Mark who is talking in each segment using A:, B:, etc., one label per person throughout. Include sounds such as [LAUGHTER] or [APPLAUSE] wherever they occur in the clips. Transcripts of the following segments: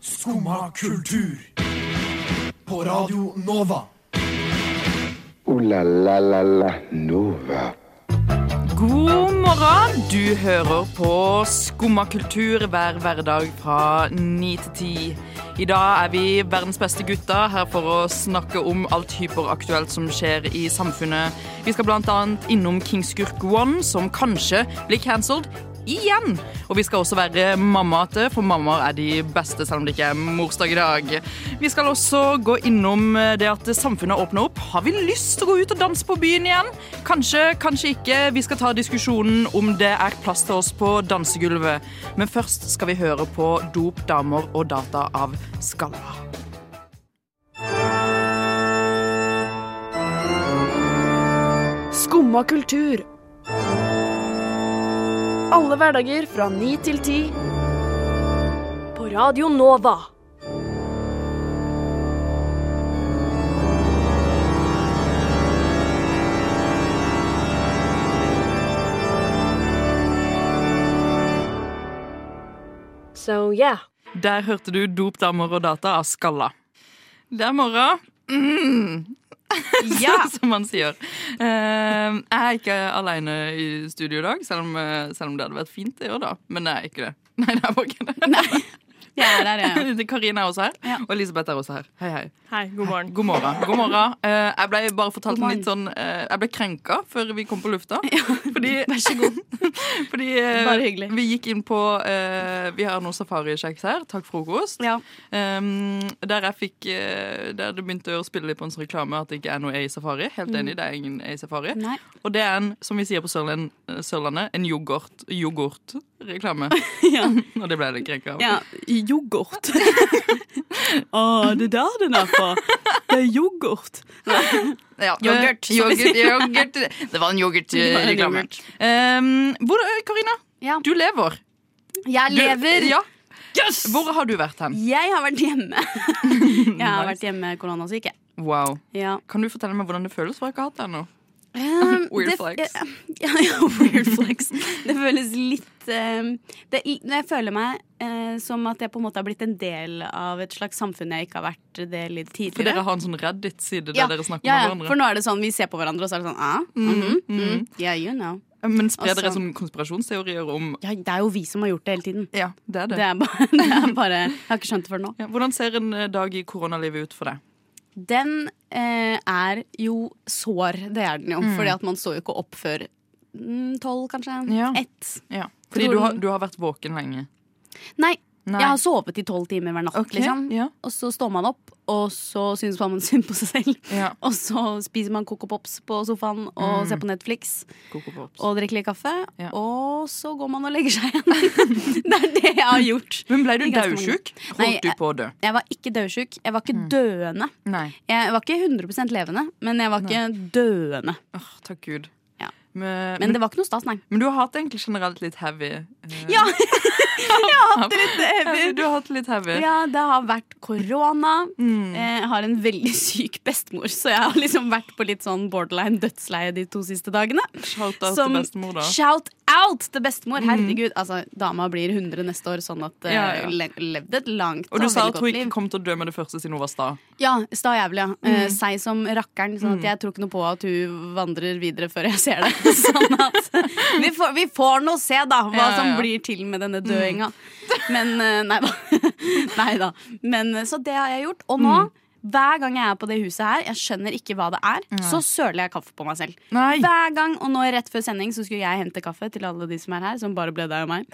A: Skumma kultur. På Radio Nova.
B: Ooh la la la la Nova.
C: God morgen! Du hører på Skumma kultur hver hverdag fra ni til ti. I dag er vi verdens beste gutta her for å snakke om alt hyperaktuelt som skjer i samfunnet. Vi skal bl.a. innom Kingskurk One, som kanskje blir cancelled igjen. Og vi skal også være mammaete, for mammaer er de beste, selv om det ikke er morsdag i dag. Vi skal også gå innom det at samfunnet åpner opp. Har vi lyst til å gå ut og danse på byen igjen? Kanskje, kanskje ikke. Vi skal ta diskusjonen om det er plass til oss på dansegulvet. Men først skal vi høre på Dop, damer og data av Skalla.
D: Skumma kultur. Alle hverdager fra 9 til 10. På Radio Nova. So yeah.
C: Der hørte du Dop, damer og data av Skalla. Det er morgen. Mm. [LAUGHS] som man sier. Eh, jeg er ikke alene i studio i dag, selv om, eh, selv om det hadde vært fint det òg, da. Men jeg er ikke det. [LAUGHS] Nei, det er bare ikke det.
E: Jeg er her, jeg.
C: Det- [LAUGHS] Karina er også her,
E: Ja.
C: og Elisabeth er også her. Hei, hei.
F: Hei, god morgen.
C: God morgen. God morgen. Eh, jeg ble bare fortalt
E: God
C: en
E: morgen.
C: litt sånn eh, Jeg ble krenka før vi kom på lufta. Fordi, Vær så god. fordi eh,
F: Bare hyggelig.
C: vi gikk inn på eh, Vi har noen safarikjeks her. Takk frokost.
E: Ja.
C: Um, der jeg fikk eh, Der det begynte å spille litt på en sånn reklame at det ikke er noe A-safari. Helt enig, det er ingen A-safari.
E: Mm. Nei.
C: Og det er en, som vi sier på Sørland, Sørlandet, en yoghurt yoghurtreklame.
E: [LAUGHS] Ja.
C: [LAUGHS] Og det ble jeg litt krenka av.
E: Ja. Yoghurt. [LAUGHS] Å, det er der den er fra. Det er yoghurt.
C: Ja,
E: Yoghurt,
C: eh,
E: som vi
C: yoghurt,
E: sier.
C: yoghurt. Det var en
E: Det var en
C: yoghurtreklame.
E: yoghurt.
C: Um, hvor, eh, Karina,
E: Ja.
C: du lever.
E: Jeg
C: Du,
E: lever.
C: Ja.
E: Yes!
C: Hvor har du vært hen?
E: Jeg har vært [LAUGHS] hjemme. Jeg har vært hjemme koronasyk, jeg.
C: Wow.
E: Ja. [LAUGHS]
C: Kan du fortelle meg hvordan det føles? For jeg har ikke hatt det ennå.
E: Um,
C: Weird
E: det-
C: flex.
E: [LAUGHS] Ja, ja, weird flex. Det føles litt um, det, Jeg føler meg eh, som at jeg på en måte har blitt en del av et slags samfunn jeg ikke har vært del i tidligere.
C: For dere har en sånn Reddit-side der
E: Ja,
C: dere snakker
E: ja, ja.
C: med hverandre. Mm.
E: For nå er det sånn, vi ser på hverandre, og så er det sånn ah, mhm, mhm, Yeah, you know.
C: Men sprer
E: Altså-
C: dere sånn konspirasjonsteorier om
E: Ja, det er jo vi som har gjort det hele tiden.
C: Ja, det er det.
E: Det er bare, [LAUGHS] det er bare Jeg har ikke skjønt det før nå.
C: Ja, hvordan ser en eh, dag i koronalivet ut for deg?
E: Den eh, er jo sår, det er den jo.
C: Mm.
E: Fordi at man står jo ikke opp før mm, tolv, kanskje.
C: Ja.
E: Ett.
C: Fordi
E: Tror
C: du
E: du-
C: har, du har vært våken lenge.
E: Nei,
C: Nei.
E: jeg har sovet i tolv timer hver natt,
C: Ok,
E: liksom.
C: ja.
E: Og så står man opp, og så syns man [LAUGHS] synd på seg selv.
C: Ja.
E: Og så spiser man Coco Pops på sofaen og ser på Netflix.
C: Coco Pops.
E: og drikke litt kaffe,
C: Mm. Ja.
E: og så går man og legger seg igjen. [LAUGHS] det er det jeg har gjort.
C: Men ble du
E: i ganske mange-
C: daudsjuk?
E: Nei,
C: Holdt du på å dø?
E: Jeg var ikke dødsjuk. Jeg var ikke
C: Mm.
E: døende.
C: Nei.
E: Jeg var ikke 100 levende, men jeg var ikke døende.
C: Åh, takk Gud.
E: Ja.
C: Men,
E: Men
C: men,
E: det var ikke noe stas, nei.
C: men du har hatt egentlig generelt litt heavy. eh,
E: Ja, jeg har hatt det litt
C: heavy.
E: heavy.
C: Du har hatt litt heavy.
E: Ja, det har vært korona.
C: Mm.
E: Jeg har en veldig syk bestemor, så jeg har liksom vært på litt sånn borderline dødsleie de to siste dagene.
C: Shout out
E: Som-
C: til bestemor, da.
E: Shout out til bestemor! Herregud, altså, dama blir 100 neste år, sånn at eh,
C: Ja, ja.
E: le levde et langt
C: Og du sa
E: veldig
C: at
E: godt
C: hun
E: liv.
C: ikke kom til å dø med det første siden hun var sta.
E: Ja, sta jævlig, ja. Eh,
C: Mm.
E: Seig som rakkeren. Sånn at jeg tror ikke noe på at hun vandrer videre før jeg ser det. [LAUGHS] Sånn at
C: [LAUGHS]
E: Vi får, vi får nå se, da, hva
C: Ja, ja,
E: som
C: ja. Mm.
E: blir til med denne døinga. Men eh, nei da. [LAUGHS] nei da. Men, eh, så det har jeg gjort. Og nå,
C: Mm.
E: hver gang jeg er på det huset her, jeg skjønner ikke hva det er, så søler jeg kaffe på meg selv.
C: Nei.
E: Hver gang, og nå rett før sending så skulle jeg hente kaffe til alle de som er her, som bare ble deg og [LAUGHS] meg.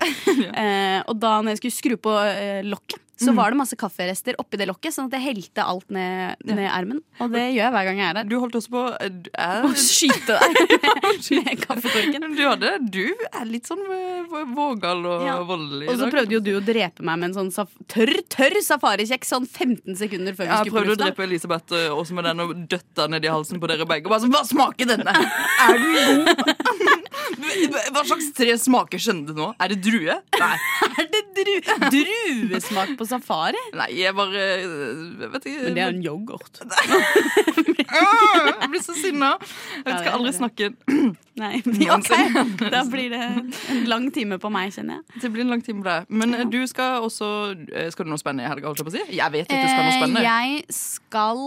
E: eh, og da når jeg skulle skru på eh, lokket, så var det masse kafferester oppi det lokket, sånn at jeg helte alt ned, ned ermen. Og det gjør jeg hver gang jeg er her.
C: Du holdt også på eh, du
E: [LAUGHS] Å
C: er-
E: [LAUGHS] skyte deg med, med kaffekorken.
C: du, hadde, du er litt sånn eh, vågal og
E: Ja.
C: voldelig. i
E: Og så
C: dag.
E: prøvde jo du å drepe meg med en sånn saf tørr tørr safarikjekk sånn 15 sekunder før vi
C: Jeg
E: skulle på
C: prøvde å
E: lufta.
C: drepe Elisabeth eh, også med den og døtta ned i halsen på dere begge. Og bare sånn, Hva smaker denne? Er den god? [LAUGHS] Hva slags tre smaker skjønner du nå? Er det drue? Nei.
E: [LAUGHS] Er det dru druesmak på safari?
C: Nei, jeg bare jeg vet ikke.
E: Men det er en yoghurt.
C: Åh, Jeg blir så sinna. Jeg skal aldri snakke
E: Nei, ok.
C: Nonsen.
E: [LAUGHS] Da blir det en lang time på meg, kjenner jeg.
C: Det blir en lang time på deg. Men eh, du skal også eh, Skal du noe spennende i helga? holdt Jeg på å si? Jeg vet at du skal noe
E: Eh,
C: spennende.
E: Jeg skal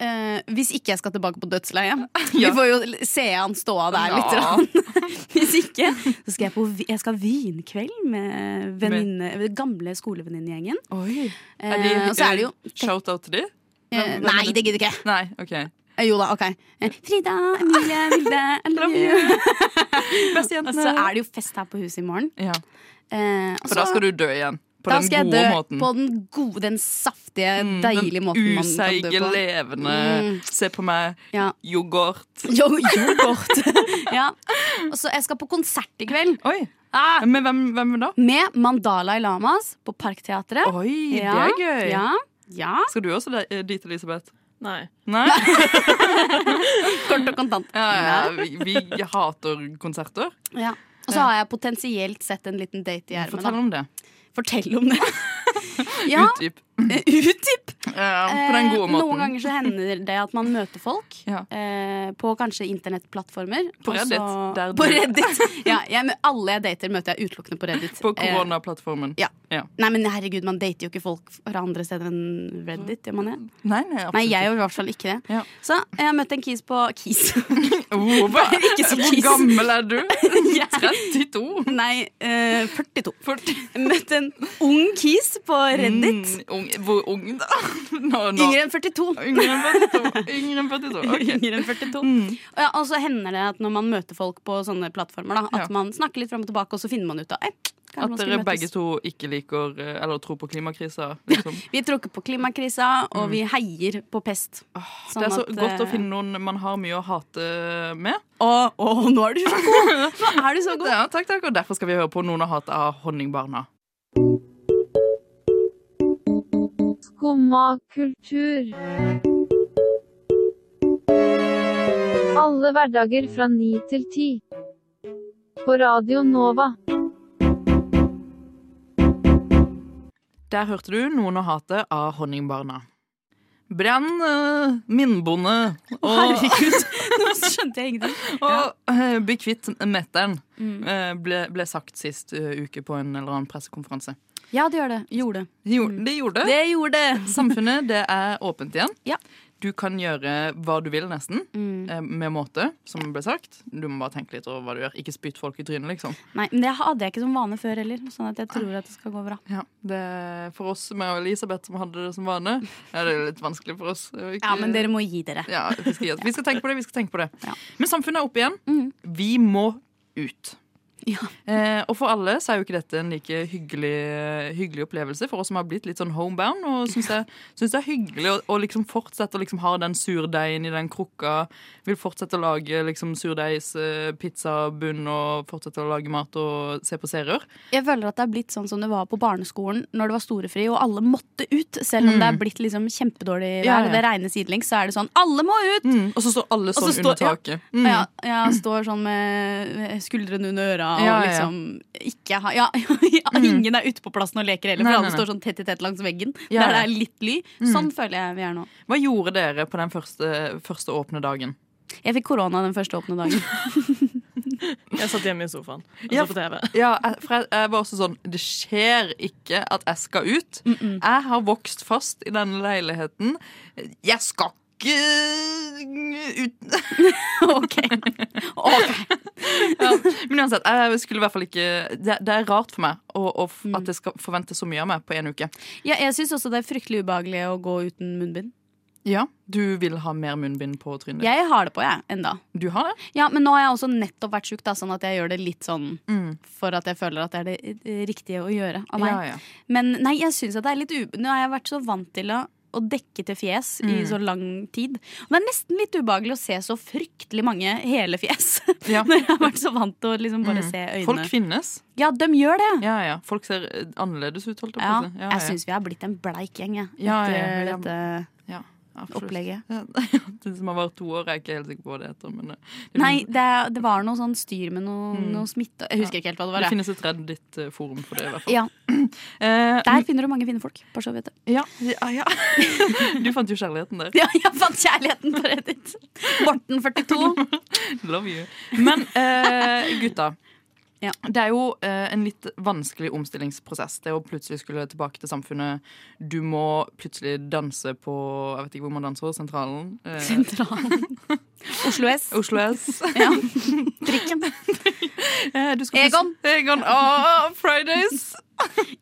E: eh, Hvis ikke jeg skal tilbake på dødsleiet.
C: [LAUGHS] Ja.
E: Vi får jo l- se an ståa der litt.
C: Ja.
E: grann. [LAUGHS] hvis ikke, så skal jeg på vi- jeg skal ha vinkveld med venninne, gamle skolevenninnegjengen.
C: Oi.
E: Eh, og så er det jo
C: Shout-out til de?
E: eh,
C: hvem er
E: Nei,
C: det?
E: det gidder ikke jeg.
C: Nei, OK.
E: Eh, Jo da, OK. Eh, Frida, Emilie,
C: [LAUGHS]
E: Vilde, I love you. [LAUGHS] Og så er det jo fest her på huset i morgen.
C: Ja.
E: Eh, og
C: For da
E: så-
C: skal du dø igjen. På
E: da
C: den
E: skal jeg
C: gode
E: dø
C: måten.
E: på den gode, den saftige,
C: Mm,
E: deilige måten man kan dø
C: useige,
E: på.
C: levende
E: Mm.
C: Se på meg.
E: Ja.
C: Yoghurt.
E: Jo, yoghurt. [LAUGHS] ja. Og så jeg skal på konsert i kveld.
C: Oi. Men hvem, hvem da?
E: Med Mandalai Lamas på Parkteatret.
C: Oi,
E: ja.
C: det er gøy.
E: Ja. ja.
C: Skal du også de- eh, dit, Elisabeth?
F: Nei.
E: [LAUGHS]
C: Nei?
E: Kort og kontant.
C: Ja, ja, vi, vi hater konserter.
E: Ja. Og så har jeg potensielt sett en liten date i ermet.
C: Fortell
E: da.
C: om det.
E: Fortell om det.
C: [LAUGHS]
E: ja, eh,
C: Utdyp.
E: utdyp! Eh,
C: Ja, på den gode måten.
E: Noen ganger så hender det at man møter folk.
C: Ja.
E: Eh, på kanskje internettplattformer.
C: På
E: og så-
C: Reddit, der
E: På
C: du-
E: Reddit. Ja, jeg, mø- alle jeg dater, møter jeg utelukkende på Reddit.
C: På
E: Eh,
C: koronaplattformen.
E: Ja.
C: Ja.
E: Nei, men herregud, man dater jo ikke folk fra andre steder enn Reddit, gjør man det?
C: Nei, nei, Mm, absolutt
E: Nei, jeg gjør i hvert fall ikke det.
C: Ja.
E: Så jeg har møtt en kis på Kis. [LAUGHS]
C: ikke. [LAUGHS] Oh, hva?
E: Ikke så
C: Hvor
E: kis.
C: gammel
E: [LAUGHS]
C: er du?
E: Jeg-
C: 32?
E: Nei, eh, 42.
C: Førti-
E: Jeg møtte en ung kis på Reddit.
C: Mm, ung, hvor ung, da? [LAUGHS] Nå, nå.
E: Yngre enn 42.
C: Yngre enn 42. Yngre enn 42. ok.
E: [LAUGHS]
C: Mm.
E: Yngre enn 42. Og, ja, og så hender det at når man møter folk på sånne plattformer, da, at
C: Ja.
E: man snakker litt fram og tilbake, og så finner man ut av «Ei, kanskje man
C: At
E: skulle
C: dere
E: møtes».
C: begge to ikke liker eh, eller tror på klimakrisa. Liksom.
E: Vi tror ikke på klimakrisa, og vi heier på pest.
C: Mm. det er så
E: [LAUGHS] Sånn at,
C: godt å
E: eh, [LAUGHS]
C: finne noen man har mye å hate eh, med.
E: Å, å, nå er du så god!
C: [LAUGHS]
E: Nå er du så god.
C: Ja, takk, takk. Og derfor skal vi høre på noen å hate av Honningbarna.
G: Skumma kultur. Alle hverdager fra 9 til 10. På Radio Nova.
C: Der hørte du noen å hate av Honningbarna. Brenn eh, minnbonde og,
E: Herregud, nå skjønte jeg ingenting. Mm.
C: og [LAUGHS] eh, bli kvitt metteren, eh, ble, ble sagt sist eh, uke på en eller annen pressekonferanse.
E: Ja, det gjør det. Gjorde.
C: Jo, det gjorde det.
E: Mm. Det gjorde det.
C: Samfunnet det er åpent igjen.
E: Ja.
C: Du kan gjøre hva du vil, nesten.
E: Mm.
C: eh, Med måte, som ble sagt. Du må bare tenke litt over hva du gjør. Ikke spytt folk i trynet, liksom.
E: Nei, men det hadde jeg ikke som vane før heller. Sånn at jeg tror at det skal gå bra.
C: Ja, det, for oss, meg og Elisabeth, som hadde det som vane, er det litt vanskelig for oss. å ikke-
E: Ja, men dere må gi dere.
C: Ja, vi skal, gi oss. vi skal tenke på det. vi skal tenke på det
E: Ja.
C: Men samfunnet er oppe igjen.
E: Mhm.
C: Vi må ut.
E: Ja.
C: Eh, og for alle så er jo ikke dette en like hyggelig, hyggelig opplevelse. For oss som har blitt litt sånn homebound og syns det, syns det er hyggelig å, å liksom fortsette å liksom ha den surdeigen i den krukka. Vil fortsette å lage liksom surdeigspizzabunn og fortsette å lage mat og se på serier.
E: Jeg føler at det er blitt sånn som det var på barneskolen når det var storefri og alle måtte ut. Selv om det er blitt liksom kjempedårlig vær
C: Ja, ja.
E: og det regner sidelengs, så er det sånn alle må ut!
C: Mm. Og så står alle
E: så
C: sånn
E: står-
C: under
E: ja.
C: taket. Mm.
E: Ja, jeg står sånn med skuldrene under øra og
C: Ja, ja, ja.
E: liksom ikke har ja, [LAUGHS] ja, Ingen er ute på plassen og leker heller,
C: Nei,
E: for
C: nei,
E: alle
C: nei.
E: står sånn tett i tett langs veggen.
C: Ja,
E: Der det
C: ja.
E: er litt ly. Sånn føler jeg vi er nå.
C: Hva gjorde dere på den første, første åpne dagen?
E: Jeg fikk korona den første åpne dagen.
F: Jeg satt hjemme i sofaen og
C: Ja.
F: så
E: Altså
F: på TV.
C: Ja, jeg, for jeg, jeg var også sånn Det skjer ikke at jeg skal ut.
E: Mm,
C: Jeg har vokst fast i denne leiligheten. Jeg skal ikke ut
E: [LAUGHS]
C: [LAUGHS]
E: ok. Ok.
C: ja. Men uansett, jeg skulle i hvert fall ikke Det, det er rart for meg å, å, f-
E: Mm.
C: at det skal forventes så mye av meg på én uke.
E: Ja, jeg syns også det er fryktelig ubehagelig å gå uten munnbind.
C: Ja, Du vil ha mer munnbind på trynet? ditt.
E: Jeg har det på, jeg, enda.
C: Du har det?
E: Ja, Men nå har jeg også nettopp vært sjuk, da, sånn at jeg gjør det litt sånn
C: Mm.
E: for at jeg føler at det er det eh, riktige å gjøre av meg.
C: Ja, ja.
E: Men nei, jeg synes at det er litt u... Nå har jeg vært så vant til å å dekke til fjes i
C: Mm.
E: så lang tid. Og det er nesten litt ubehagelig å se så fryktelig mange hele fjes. [LAUGHS]
C: Ja.
E: Når jeg har vært så vant til å liksom bare
C: Mm.
E: se øynene.
C: Folk finnes.
E: ja, de gjør det!
C: Ja, ja. Folk ser eh, annerledes ut, holdt jeg
E: Ja,
C: på å si. Ja, ja.
E: Jeg syns vi har blitt en bleik gjeng, jeg.
C: Ja,
E: etter
C: ja, ja.
E: dette
C: Ja. Absolutt.
E: opplegget.
C: Ja, [LAUGHS] det som har vært to år, er jeg ikke helt sikker på hva det heter. Men eh, det, det
E: Nei, det, det var noe sånn styr med noe,
C: Mm.
E: noe smitte Jeg husker ikke helt hva det
C: finnes, det
E: var. jeg.
C: finnes et Reddit-forum for det, i hvert fall.
E: Ja,
C: Eh,
E: Der finner du mange fine folk. Bare så du vet det.
C: ja, ja, ja. [LAUGHS] Du fant jo kjærligheten der.
E: Ja, jeg fant kjærligheten på Reddit. Morten42.
C: [LAUGHS] Love you. Men eh, gutta.
E: Ja.
C: Det er jo eh, en litt vanskelig omstillingsprosess. Det å plutselig skulle tilbake til samfunnet. Du må plutselig danse på Jeg vet ikke hvor man danser. Sentralen. Eh,
E: Sentralen. Oslo S.
C: Oslo S.
E: [LAUGHS] Ja. Drikken.
C: [LAUGHS] Eh, du skal
E: Egon.
C: plutselig- Egon. Ah,
E: [LAUGHS]
C: Fridays!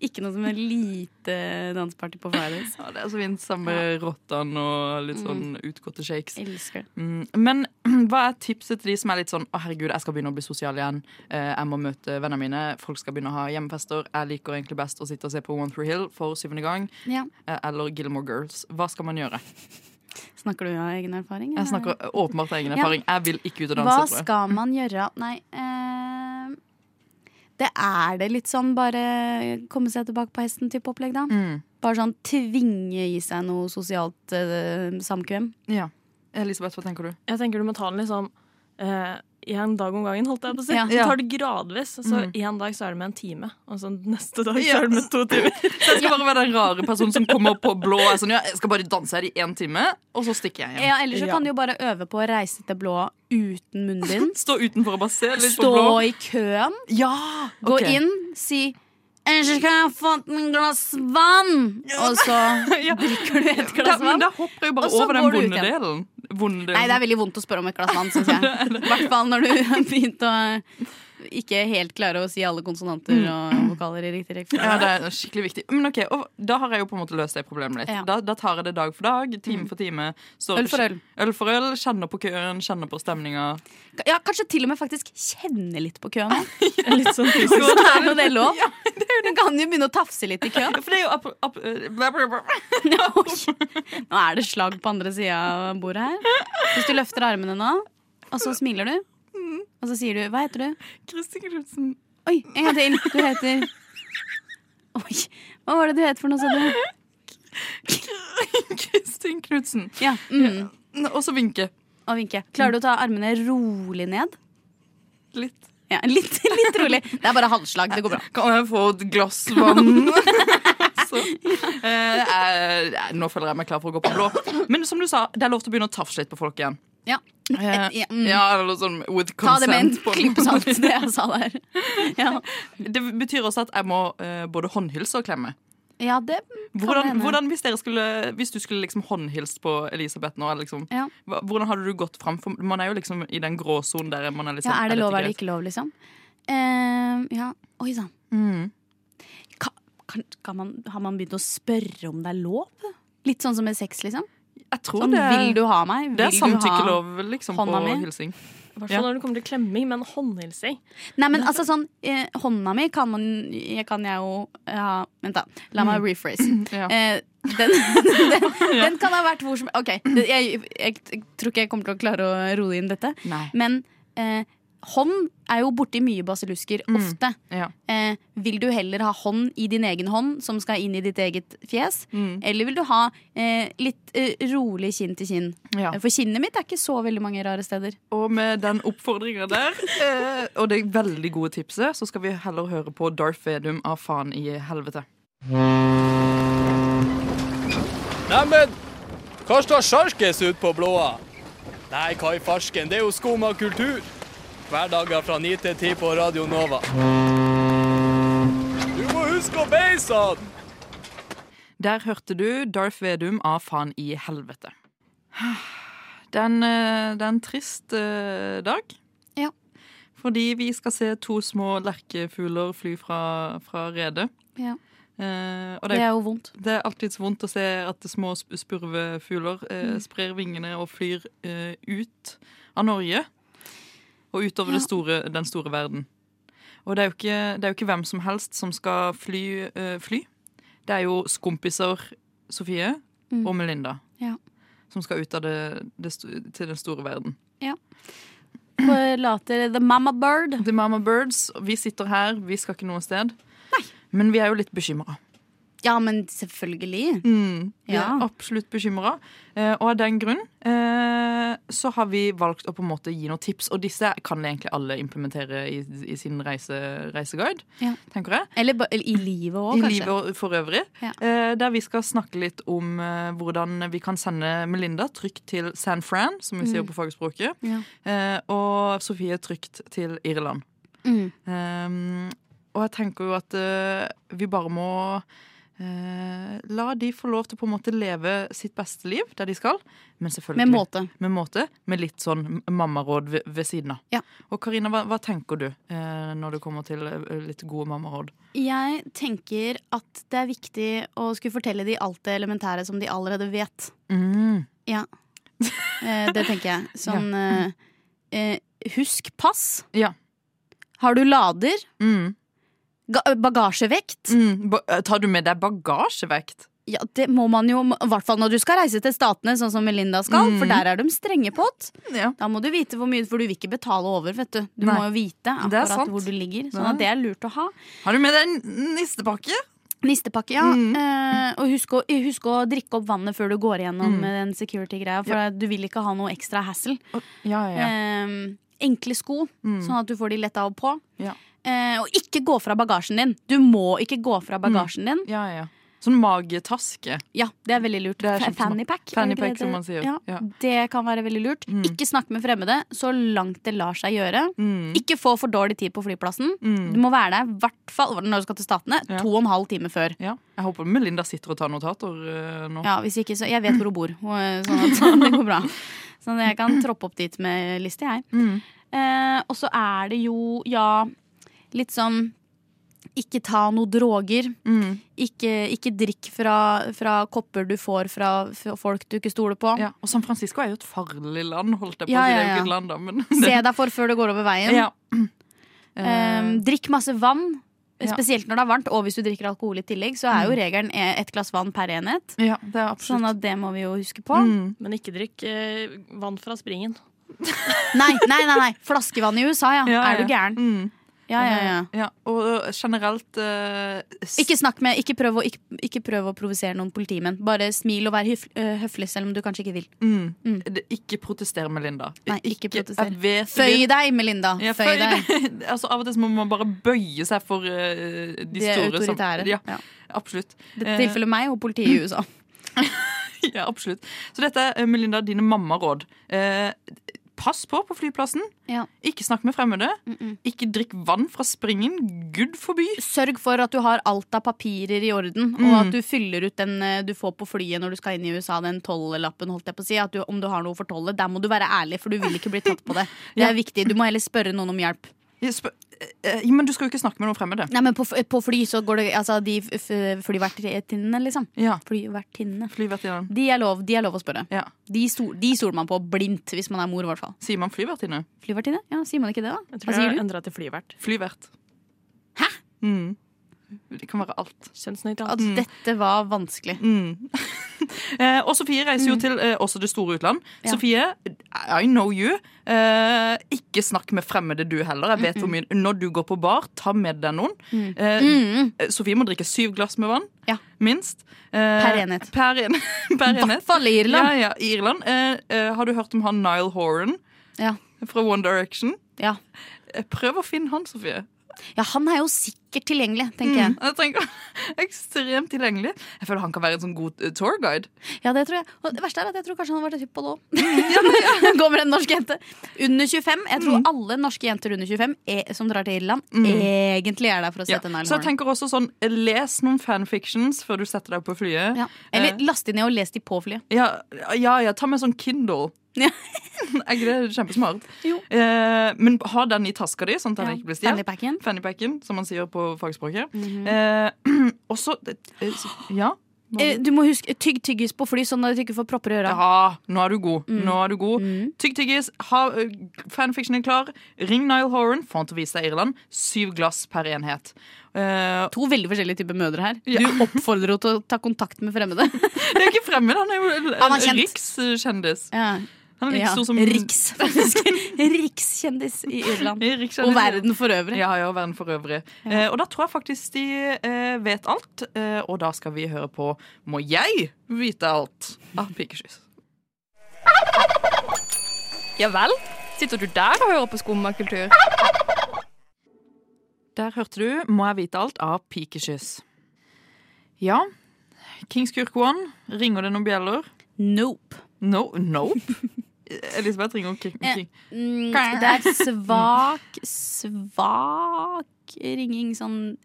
E: Ikke noe som en lite danseparty på Fridays.
C: Ja, det er så fint. Samme rottene og litt
E: Mm.
C: sånn utgåtte shakes.
E: Elsker det.
C: Mm, Men [CLEARS THROAT] hva er tipset til de som er litt sånn Å herregud, jeg skal begynne å bli sosial igjen. Eh, Jeg må møte vennene mine. Folk skal begynne å ha hjemmefester. Jeg liker egentlig best å sitte og se på One Through Hill for syvende gang.
E: Ja.
C: eh, Eller Gilmore Girls. Hva skal man gjøre?
E: Snakker du av egen erfaring?
C: Jeg
E: eller?
C: snakker åpenbart av egen
E: Ja.
C: erfaring. Jeg vil ikke ut og danse.
E: Hva
C: tror jeg.
E: skal man gjøre? Nei eh, Det er det litt sånn bare komme seg tilbake på hesten-type opplegg, da.
C: Mm.
E: Bare sånn tvinge i seg noe sosialt eh, samkvem.
C: Ja. Elisabeth, hva tenker du?
F: Jeg tenker du må ta den liksom eh, en dag om gangen, holdt jeg på å si.
E: Ja.
F: Du tar det gradvis. Så
C: Mm.
F: en dag så er det med en time, og så neste dag
C: Ja.
F: så er det med to
E: [LAUGHS]
F: timer.
C: Så jeg skal [LAUGHS] bare være den rare personen som kommer opp på blå og er sånn Ja, jeg skal bare danse her i én time, og så stikker jeg hjem.
E: Ja, Ellers så
F: Ja.
E: kan du jo bare øve på å reise til blå uten [LAUGHS] munnbind.
C: Stå utenfor og bare se litt på blå.
E: Stå i køen,
C: Ja!
E: gå
C: ok.
E: inn, si Ellers kan jeg få et glass vann! Og så [LAUGHS] drikker du et
C: Da,
E: glass
C: men
E: vann.
C: da hopper jeg jo bare
E: Og så
C: over den
E: går du ut
C: vonde
E: igjen.
C: delen. Vonde delen.
E: Nei, det er veldig vondt å spørre om et glass [LAUGHS] vann, syns jeg. I hvert fall når du har begynt å ikke helt klare å si alle konsonanter og vokaler i riktig
C: Ja,
E: rekkefølge.
C: det er skikkelig viktig. Men ok, og Da har jeg jo på en måte løst det problemet litt.
E: Ja. Mm.
C: Da, da tar jeg det dag for dag, time for time. står-
E: Øl for øl.
C: Øl for øl, Kjenner på køen, kjenner på stemninga.
E: Ja, kanskje til og med faktisk kjenne litt på [LAUGHS] køen.
F: Litt sånn
E: [LAUGHS] [LAUGHS]
F: fysisk.
E: Så er jo det lov. Du kan jo begynne å tafse litt i køen.
C: For det er jo app, app,
E: Oi. [LAUGHS] Nå er det slag på andre sida av bordet her. Hvis du løfter armene nå, og så smiler du, og så sier du Hva heter du?
C: Kristin Knutsen.
E: Oi, en gang til. Du heter Oi, hva var det du het for noe, sa du?
C: Kristin Knutsen.
E: Ja, mm.
C: Og så vinke.
E: Og vinke. Klarer du å ta armene rolig ned?
C: Litt.
E: Ja, litt, litt rolig. Det er bare halvslag. Det går bra.
C: Kan jeg få et glass vann? [LAUGHS] Så, eh, jeg- jeg- nå føler jeg meg klar for å gå på blå. Men som du sa, det er lov til å begynne å tafse litt på folk igjen.
E: Ja.
C: Eh,
E: Ja, mm.
C: ja, eller sånn with
E: Ta det med en
C: consent. på en
E: klype salt, det jeg sa der. Ja,
C: Det betyr også at jeg må eh, både håndhilse og klemme.
E: ja det
C: Hvordan,
E: hende.
C: hvordan hvis, dere skulle, hvis du skulle liksom håndhilst på Elisabeth nå, eller liksom,
E: Ja.
C: hva- hvordan hadde du gått fram? For man er jo liksom i den gråsonen der man er litt
E: Ja,
C: sånn
E: er det lov,
C: dette
E: er det
C: greit?
E: ikke lov, liksom? Eh, ja, oi sann.
C: Mm.
E: Ka- kan, kan man, har man begynt å spørre om det er lov? Litt sånn som med sex, liksom.
C: Jeg tror
E: Sånn,
C: det,
E: vil du ha meg?
C: det er
E: Vil du ha-
C: samtykkelov liksom, på
E: hånda mi?
C: hilsing.
F: I hvert fall når det kommer til klemming, men håndhilsing.
E: Nei, men altså sånn, eh, hånda mi kan man jeg Kan jeg jo eh, ha Vent, da. La meg rephrase.
C: Mm. [CLEARS THROAT] Ja.
E: Eh,
C: [LAUGHS]
E: den, [LAUGHS] den, den kan ha vært hvor som OK, det, jeg, jeg tror ikke jeg kommer til å klare å roe inn dette.
C: Nei.
E: Men eh, hånd er jo borti mye basillusker
C: Mm.
E: ofte.
C: Ja.
E: Eh, vil du heller ha hånd i din egen hånd som skal inn i ditt eget fjes?
C: Mm.
E: Eller vil du ha eh, litt eh, rolig kinn til kinn?
C: Ja.
E: For kinnet mitt er ikke så veldig mange rare steder.
C: Og med den oppfordringa der, eh, og det veldig gode tipset, så skal vi heller høre på Darth Vedum av Faen i helvete.
H: Neimen, hva står sjarkes ut på blåa? Nei, hva i farsken, det er jo skum av kultur. Hverdager fra 9 til 10 på Radio Nova. Du må huske å beise han!
C: Der hørte du Darth Vedum av Faen i helvete. Det er en, eh, det er en trist eh, dag.
E: Ja.
C: Fordi vi skal se to små lerkefugler fly fra, fra redet.
E: Ja.
C: Eh, og
E: Det
C: det,
E: er jo vondt.
C: det er alltid så vondt å se at det små sp- spurvefugler eh,
E: Mm.
C: sprer vingene og flyr eh, ut av Norge. Og utover det store, den store verden. Og det er, jo ikke, det er jo ikke hvem som helst som skal fly. eh, fly. Det er jo skompiser Sofie
E: Mm.
C: og Melinda
E: Ja.
C: som skal ut av det, det, sto- til den store verden.
E: Forlater The Mama Bird.
C: The Mama Birds, vi sitter her, vi skal ikke noe sted. Men vi er jo litt bekymra.
E: Ja, men selvfølgelig.
C: Mm, vi
E: Ja.
C: er absolutt bekymra. Og av den grunn eh, så har vi valgt å på en måte gi noen tips. Og disse kan egentlig alle implementere i, i sin reise, reiseguide,
E: Ja.
C: tenker jeg.
E: Eller, ba- eller i livet òg,
C: I
E: kanskje.
C: livet og for øvrig.
E: Ja.
C: Eh, der vi skal snakke litt om eh, hvordan vi kan sende Melinda trygt til San Fran, som vi sier på fagspråket,
E: Mm. Ja.
C: eh, og Sofie trygt til Irland.
E: Mm.
C: Ehm, og jeg tenker jo at eh, vi bare må eh, la de få lov til å på en måte leve sitt beste liv der de skal. Men selvfølgelig
E: Med måte.
C: med, måte, med litt sånn m- mammaråd ved, ved siden av.
E: Ja.
C: Og Karina, hva, hva tenker du eh, når det kommer til eh, litt gode mammaråd?
E: Jeg tenker at det er viktig å skulle fortelle de alt det elementære som de allerede vet.
C: Mm.
E: Ja. Eh, det tenker
C: [LAUGHS]
E: jeg. Sånn eh, eh, Husk pass.
C: Ja.
E: Har du lader?
C: Mm.
E: Ga eh, bagasjevekt?
C: Mm. Ba tar du med deg bagasjevekt?
E: Ja, det må man jo, i hvert fall når du skal reise til Statene, sånn som Melinda skal,
C: Mm.
E: for der er de strenge på det.
C: Ja.
E: Da må du vite hvor mye, for du vil ikke betale over, vet du. Du
C: Nei.
E: må jo vite
C: Det er
E: akkurat
C: sant.
E: hvor du ligger. Sånn at det er lurt å ha.
C: Har du med deg en nistepakke?
E: Nistepakke, ja.
C: Mm.
E: Eh, og husk å, husk å drikke opp vannet før du går gjennom
C: Mm.
E: eh, den security-greia, for du vil ikke ha noe ekstra hassle.
C: Ja, ja, ja.
E: Eh, enkle sko,
C: Mm.
E: sånn at du får de lett av og på.
C: Ja.
E: Eh, og ikke gå fra bagasjen din. Du må ikke gå fra
C: Mm.
E: bagasjen din.
C: ja, ja. Sånn magetaske.
E: Ja, det er veldig lurt.
C: Det er
E: Fa-
C: sånn som-
E: Fannypack.
C: fanny
E: er det
C: pack,
E: det
C: som
E: heter?
C: man sier.
E: Ja,
C: Ja.
E: Det kan være veldig lurt.
C: Mm.
E: Ikke snakk med fremmede så langt det lar seg gjøre.
C: Mm.
E: Ikke få for dårlig tid på flyplassen.
C: Mm.
E: Du må være der i hvert fall når du skal til Statene,
C: Ja.
E: to og en halv time før.
C: Ja. Jeg håper Melinda sitter og tar notater eh, nå.
E: Ja, hvis ikke, så Jeg vet hvor hun bor, og, sånn at [LAUGHS] det går bra. Sånn at jeg kan troppe opp dit med liste, jeg.
C: Mm.
E: Eh, og så er det jo, ja, litt sånn ikke ta noe droger.
C: Mm.
E: Ikke, ikke drikk fra, fra kopper du får fra f- folk du ikke stoler på.
C: Ja, og San Francisco er jo et farlig land, holdt jeg på
E: Ja,
C: å si. Det er
E: ja,
C: jo
E: ja.
C: ikke et land, da,
E: [LAUGHS]
C: men
E: Se deg for før du går over veien.
C: [LAUGHS]
E: [LAUGHS]
C: ja.
E: Eh, drikk masse vann.
C: Ja.
E: Spesielt når det er varmt, og hvis du drikker alkohol i tillegg, så er jo regelen eh, ett glass vann per enhet.
C: Eh, ja, det er absolutt
E: Sånn at det må vi jo huske på.
C: mm.
F: Men ikke drikk eh, vann fra springen.
E: Nei, nei, nei, nei, flaskevann i USA, ja.
C: [LAUGHS] Ja, Mm.
E: Ah, Er du
C: ja.
E: gæren?
C: Mm.
E: Ja, ja, ja.
C: ja. Og generelt eh, s-
E: Ikke snakk med, ikke prøv å, ikke, ikke prøv å provosere noen politimenn. Bare smil og vær hyf, eh, høflig, selv om du kanskje ikke vil.
C: mm.
E: Mm.
C: Det- Ikke protester, Melinda.
E: Nei, ikke protester.
C: Jeg vet,
E: Føy
C: det.
E: deg, Melinda.
C: Ja, føy deg. [LAUGHS] altså, av og til så må man bare bøye seg for eh, de,
E: De er
C: store. som-
E: autoritære.
C: ja, Eh.
E: Ja.
C: absolutt.
E: Det tilfeller meg og politiet i USA.
C: [LAUGHS] Ja, absolutt. Så dette er eh, Melinda, dine mammaråd. Eh, pass på på flyplassen.
E: Ja.
C: Ikke snakk med fremmede. Ikke drikk vann fra springen. Gud forby.
E: Sørg for at du har alt av papirer i orden, og
C: Mm.
E: at du fyller ut den eh, du får på flyet når du skal inn i USA, den tolvlappen, holdt jeg på å si. At du, om du har noe for tolvet. Der må du være ærlig, for du vil ikke bli tatt på det. [LAUGHS] Det
C: Ja.
E: er viktig. Du må heller spørre noen om hjelp.
C: Jeg spør- eh, eh, men du skal jo ikke snakke med noen fremmede.
E: Nei, men på, f- på fly så går det altså de f- f- flyvertinnene, liksom.
C: Ja,
E: Flyvertinnene.
C: flyvertinne.
E: De er lov, de er lov å spørre.
C: Ja.
E: De, stol, de stoler man på blindt hvis man er mor, i hvert fall.
C: Sier man flyvertinne?
E: Flyvertinne? Ja, sier man ikke det, da? Hva
F: Jeg tror jeg
E: sier
F: har
E: du?
F: endra til flyvert.
C: Flyvert. Hæ? Mm. Det kan være alt.
E: At
F: Kjønnsnøytralt.
E: dette var vanskelig.
C: Mm. eh, og Sofie reiser jo til eh, også det store utland.
E: Mm. Ja.
C: Sofie, I know you. Eh, ikke snakk med fremmede, du heller. Jeg vet hvor mye Når du går på bar, ta med deg noen. Eh,
E: Mm.
C: Eh, Sofie må drikke syv glass med vann.
E: Ja.
C: Minst. Eh,
E: Per enhet.
C: Per, en, [LAUGHS] per
E: I
C: enhet.
E: hvert fall i Irland.
C: Ja, ja, i Irland. Eh, eh, har du hørt om han Nile Horan
E: Ja.
C: fra One Direction?
E: Ja.
C: Eh, prøv å finne han, Sofie.
E: ja, han er jo sikkert tilgjengelig, tenker
C: Mm, jeg tenker, [LAUGHS] Ekstremt tilgjengelig. Jeg føler han kan være en sånn god eh, tourguide.
E: jeg. Ja, det tror jeg. Og det verste er at jeg tror kanskje han har vært hypp på det
C: Mm.
E: [LAUGHS] òg. Kommer en norsk jente under 25. Jeg tror alle norske jenter under 25 er, som drar til Irland, egentlig er der for å
C: Mm. Ja.
E: sette en
C: Så jeg
E: alarm.
C: tenker også sånn, eh, Les noen fanfictions før du setter deg på flyet.
E: Ja. Eller last de ned og les de på flyet.
C: Ja, ja, ja ta med sånn Kindle. [LAUGHS]
E: Ja.
C: er ikke det kjempesmart?
E: Jo.
C: Eh, men ha den i taska di, sånn at den
E: Ja.
C: ikke blir stjålet.
E: Fannypacken.
C: Fannypacken, som man sier på fagspråket.
E: Mhm.
C: eh, [CLEARS THROAT] også eh, så- ja.
E: Eh, Du må huske tygg tyggis på fly, sånn at du ikke får propper i øra.
C: ja. Nå er du god.
E: Mm.
C: Nå er du god. Tygg tyggis, ha eh, fanfictionen klar. Ring Nile Horan, få han til å vise deg Irland. Syv glass per enhet. Eh,
E: To veldig forskjellige typer mødre her.
C: Ja.
E: Du
C: [LAUGHS]
E: oppfordrer henne til å ta kontakt med fremmede.
C: det er ikke fremmed, han er jo en,
E: Han er
C: en
E: kjent.
C: rikskjendis.
E: Ja.
C: Han er like
E: Ja,
C: stor som [LAUGHS]
E: Riks, [LAUGHS] faktisk. Rikskjendis i Irland. Og verden for øvrig.
C: Ja, ja, verden for øvrig. Eh, og da tror jeg faktisk de eh, vet alt. Eh, og da skal vi høre på Må jeg vite alt? Ah, av Pikeskyss.
I: Ja vel? Sitter du der og hører på skummakultur?
C: Der hørte du Må jeg vite alt? av Pikeskyss. Ja, Kings Kurk One, ringer det noen bjeller?
E: Nope.
C: No,
I: [LAUGHS]
C: nope. Elisabeth ringer King. King.
E: Mm, det er svak, svak ringing sånn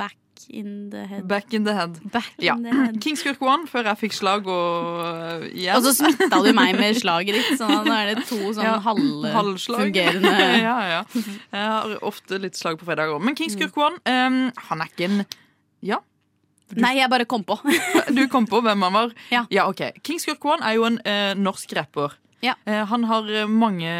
E: back in the head.
C: Back in the head.
E: Back
C: Ja.
E: in the head.
C: Kings Kurk One før jeg fikk slag og eh, igjen.
E: Og så smitta du meg med slaget ditt, så nå er det to sånn
C: Ja, halvslag.
E: halvfungerende
C: [LAUGHS] ja, ja. Jeg har ofte litt slag på fredager òg. Men Kings Kurk One, eh, han er ikke en Ja,
E: [LAUGHS] Nei, jeg bare kom på.
C: du kom på hvem han var?
E: Ja.
C: ok. Kings Kurk One er jo en eh, norsk rapper.
E: Ja.
C: Eh, han har eh, mange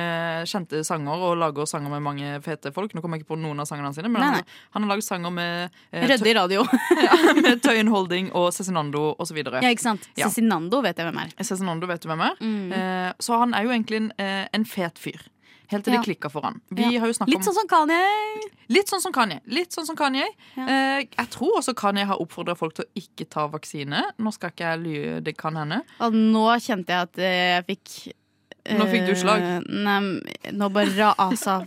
C: kjente sanger og lager sanger med mange fete folk. Nå kommer jeg ikke på noen av sangene sine, men
E: Nei,
C: han, han har laget sanger med, eh,
E: Rødde i radio.
C: [LAUGHS] Tøy- med Tøyen Holding og Cezinando osv.
E: Ja, Mm. ikke sant?
C: Ja.
E: Cezinando vet jeg hvem er.
C: Cezinando vet du hvem er. Eh, så han er jo egentlig en, eh, en fet fyr. Helt til
E: Ja.
C: det klikka for han. Vi
E: Ja.
C: har jo snakket om
E: Litt sånn som Kanye.
C: Litt sånn som Kanye. Litt sånn som Kanye.
E: Ja.
C: Eh, jeg tror også Kanye har oppfordra folk til å ikke ta vaksine. Nå skal ikke jeg ly, det kan hende.
E: Og nå kjente jeg at eh, jeg fikk
C: Nå fikk du
E: eh,
C: slag.
E: Nei, nå bare Altså,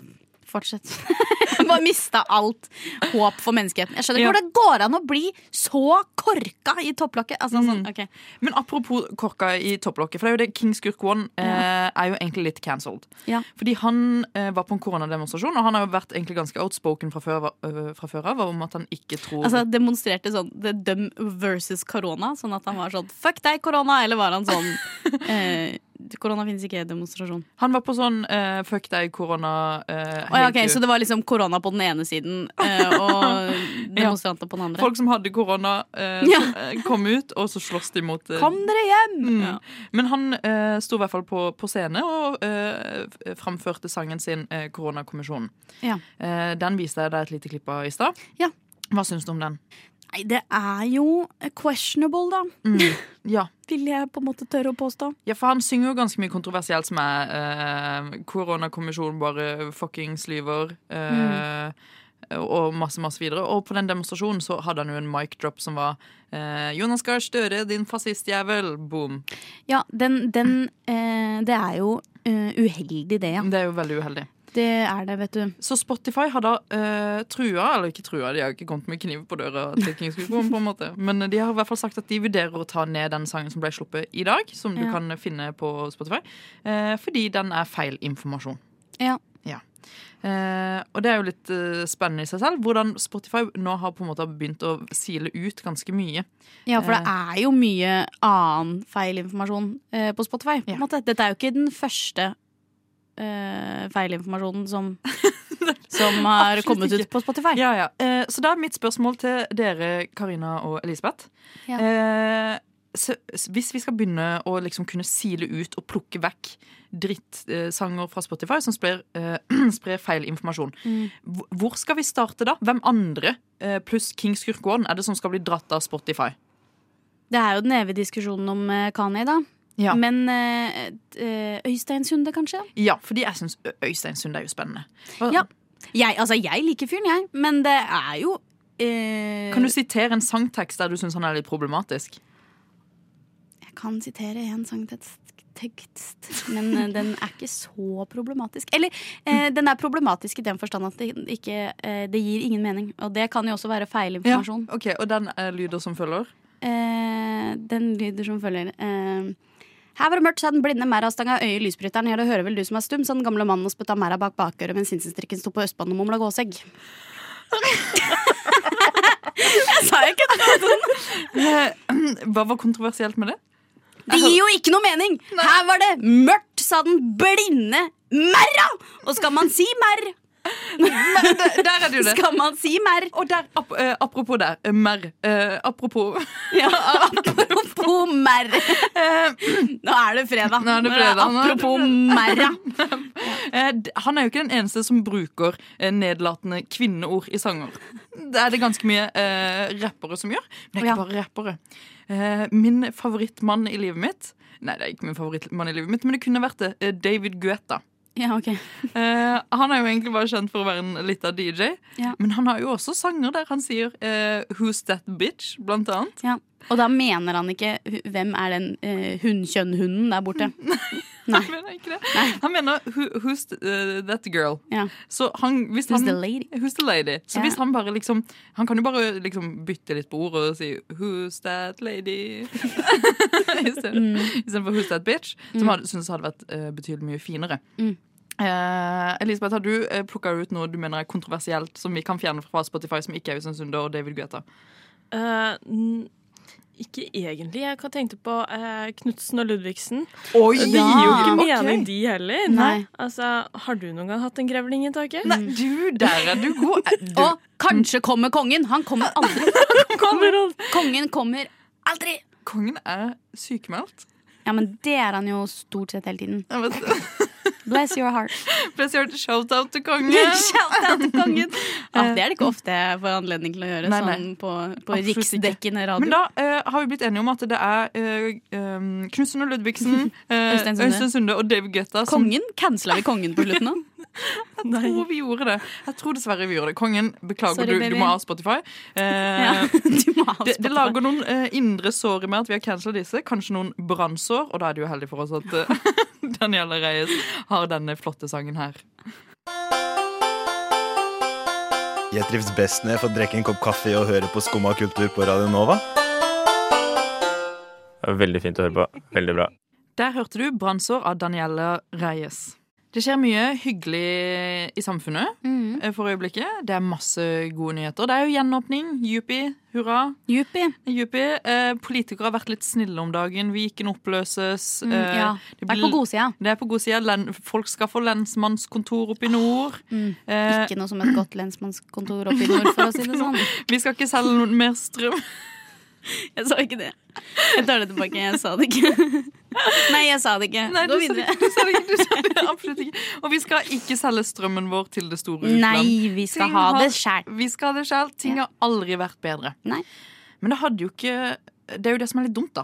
E: fortsett. [LAUGHS] jeg bare mista alt håp for menneskeheten. Jeg skjønner ikke
C: Ja.
E: hvordan det går an å bli så korka i topplokket. Altså,
C: Mm.
E: sånn, ok.
C: Men apropos korka i topplokket, for det er jo det King Skurk One eh, er jo egentlig litt cancelled.
E: Ja.
C: Fordi han eh, var på en koronademonstrasjon, og han har jo vært egentlig ganske outspoken fra før, øh, fra før av om at han ikke tror
E: Altså Demonstrerte sånn the døm versus korona. Sånn at han var sånn fuck deg, korona! Eller var
C: [LAUGHS]
E: han sånn eh, Korona finnes ikke, demonstrasjon.
C: Han var på sånn eh, fuck deg, korona eh,
E: Å ja, ok,
C: helt ut.
E: så det var liksom korona på den ene siden eh,
C: [LAUGHS]
E: og demonstranter på den andre.
C: Folk som hadde korona, eh,
E: Ja.
C: så, eh, kom ut, og så slåss de mot eh,
E: Kom dere hjem!
C: Mm.
E: Ja.
C: Men han eh, sto i hvert fall på, på scene og eh, f- framførte sangen sin eh, 'Koronakommisjonen'.
E: Ja.
C: Eh, den viste jeg deg et lite klipp av i stad.
E: Ja.
C: Hva syns du om den?
E: Nei, det er jo eh, questionable, da.
C: Mm.
E: [LAUGHS]
C: Ja.
E: Vil jeg på en måte tørre å påstå.
C: ja, for han synger jo ganske mye kontroversielt som er eh, 'Koronakommisjonen bare fuckings lyver'. Eh,
E: Mm.
C: Og masse, masse videre. Og på den demonstrasjonen så hadde han jo en mic drop som var eh, 'Jonas Gahr Støre, din fascistjævel'. Boom.
E: Ja, den, den eh, Det er jo eh, uheldig, det, ja.
C: Det er jo veldig uheldig.
E: Det er det, vet du.
C: Så Spotify har da eh, trua, eller ikke trua, de har ikke kommet med kniv på døra, til
E: [LAUGHS]
C: Kings Creek Woman, på en måte. men de har i hvert fall sagt at de vurderer å ta ned den sangen som ble sluppet i dag, som du
E: Ja.
C: kan finne på Spotify, eh, fordi den er feil informasjon.
E: Ja.
C: Eh, og det er jo litt eh, spennende i seg selv, hvordan Spotify nå har på en måte begynt å sile ut ganske mye.
E: ja, for det er jo mye annen feil informasjon eh, på Spotify. På
C: Ja.
E: en måte. Dette er jo ikke den første eh, feilinformasjonen [LAUGHS] som som har
C: Absolutt
E: kommet ut
C: ikke.
E: på Spotify.
C: Ja, ja. Eh, så da er mitt spørsmål til dere, Karina og Elisabeth.
E: Ja.
C: Eh, så, s- hvis vi skal begynne å liksom kunne sile ut og plukke vekk drittsanger fra Spotify som sprer, eh, [CLEARS THROAT] sprer feil informasjon,
E: Mm.
C: hvor- hvor skal vi starte da? Hvem andre eh, pluss King Skurkgården er det som skal bli dratt av Spotify?
E: Det er jo den evige diskusjonen om eh, Kanye, da.
C: Ja.
E: Men eh, eh, Øystein Sunde, kanskje?
C: Ja, fordi jeg syns Øystein Sunde er jo spennende. Hva-
E: Ja. Jeg, altså, jeg liker fyren, jeg, men det er jo eh,
C: Kan du sitere en sangtekst der du syns han er litt problematisk?
E: Jeg kan sitere en sangtekst, tekst, men eh, den er ikke så problematisk. Eller eh, den er problematisk i den forstand at det, ikke, eh, det gir ingen mening. Og det kan jo også være feilinformasjon.
C: ok, Og den eh, lyder som følger?
E: Eh, den lyder som følger. Eh, her var det mørkt, sa den blinde merra stanga øyet i lysbryteren. Ja, det hører vel du som er stum, sa den gamle mannen og spytta merra bak bakøret mens sinsenstrikken sto på Østbanen og mumla gåsegg. [LAUGHS] Jeg sa ikke det!
C: Hva var kontroversielt med det?
E: Det gir jo ikke noe mening! Her var det mørkt, sa den blinde merra! Og skal man si merr,
C: Der er det jo [LAUGHS] det!
E: skal man si merr.
C: Og der, ap eh, apropos der, eh, mer eh, Apropos [LAUGHS]
E: Ja, apropos
C: Eh,
E: merr. Nå er det fredag.
C: Nå er det fredag, nå er det
E: Apropos merra.
C: Eh, d- Han er jo ikke den eneste som bruker eh, nedlatende kvinneord i sanger. Det er det ganske mye eh, rappere som gjør, men det er ikke bare rappere. Eh, min favorittmann i livet mitt Nei, det er ikke min favorittmann i livet mitt, men det kunne vært det. eh, David Guetta.
E: Ja, ok.
C: Eh, han er jo egentlig bare kjent for å være en lita DJ,
E: Ja.
C: men han har jo også sanger der han sier eh, 'Who's That Bitch?' blant annet.
E: Ja. Og da mener han ikke hu- hvem er den uh, hunnkjønnhunden der borte. Nei.
C: Han [LAUGHS] mener ikke det. Han mener who, 'Who's th- eh, That Girl'.
E: Ja.
C: Så han, hvis
E: Who's
C: han,
E: the lady?
C: Who's the lady. Så
E: Ja.
C: hvis han bare liksom Han kan jo bare liksom bytte litt på ordet og si 'Who's that lady?' [LAUGHS]
E: Mm.
C: istedenfor 'Who's that bitch?', som jeg syns hadde vært eh, betydelig mye finere.
E: Mm.
C: Eh, Elisabeth, har du uh, plukka ut noe du mener er kontroversielt som vi kan fjerne fra Spotify, som ikke er Øystein Sunde og David Guetta?
F: Eh, n- ikke egentlig. Jeg kan tenke på uh, Knutsen og Ludvigsen.
C: Oi,
F: Det gir jo ikke
C: Ok.
F: mening, de heller.
E: Nei.
F: Altså, Har du noen gang hatt en grevling i taket?
C: Nei, du, der er du god. [LAUGHS] Du,
E: Og kanskje kommer kongen! Han kommer aldri.
F: Kommer alt-
E: Kongen kommer aldri!
C: kongen er sykemeldt.
E: Ja, men det er han jo stort sett hele tiden.
C: Jeg vet-
E: Bless your heart.
C: Please gjør et shout-out til
E: [LAUGHS]
C: kongen.
E: Shout out til kongen! [LAUGHS] Ja, det er det ikke ofte jeg får anledning til å gjøre
C: Nei, nei.
E: sånn på, på
C: Absolutt ikke.
E: riksdekkende radio.
C: Men da eh, har vi blitt enige om at det er uh, um, Knutsen og
E: [LAUGHS]
C: Ludvigsen, eh,
E: Øystein Sunde.
C: Øystein Sunde og David Guetta som
E: kongen? Cancela vi kongen
C: [LAUGHS]
E: på slutten nå?
C: Jeg tror vi gjorde det. Jeg tror dessverre vi gjorde det. Kongen, beklager,
E: Sorry,
C: du,
E: baby.
C: du må ha
E: [LAUGHS]
C: Spotify. Eh,
E: Ja, [LAUGHS] du må ha
C: Det, det
E: Spotify.
C: lager noen eh, indre sår i meg at vi har cancela disse. Kanskje noen brannsår, og da er det jo heldig for oss at eh, [LAUGHS] Daniela Reyes har denne flotte sangen her.
J: Jeg trives best når jeg får drikke en kopp kaffe og høre på Skumma kultur på Radio Nova.
K: Veldig fint å høre på. Veldig bra.
C: Der hørte du 'Brannsår' av Danielle Reyes. Det skjer mye hyggelig i samfunnet
E: Mm.
C: eh, for øyeblikket. Det er masse gode nyheter. Det er jo gjenåpning. Jupi, hurra.
E: Jupi.
C: Jupi. Eh, Politikere har vært litt snille om dagen. Viken oppløses.
E: Mm,
C: Eh,
E: ja.
C: det
E: Vær på godsida.
C: Det er på god side. Len- Folk skal få lensmannskontor oppe i nord.
E: Mm.
C: Eh,
E: Ikke noe som et godt lensmannskontor oppe i nord, for å si det sånn.
C: vi skal ikke selge noe mer strøm.
E: [LAUGHS] Jeg sa ikke det. Jeg tar det tilbake. Jeg sa det ikke. [LAUGHS] Nei, jeg sa det ikke.
C: Nei, du
E: Gå
C: sa det
E: videre.
C: ikke, du sa det ikke, du sa det absolutt ikke. Og vi skal ikke selge strømmen vår til det store utland.
E: Nei, vi skal
C: Ting
E: ha
C: har-
E: det sjæl.
C: Vi skal ha det sjøl. Ting har aldri vært bedre.
E: Nei.
C: Men det hadde jo ikke Det er jo det som er litt dumt, da.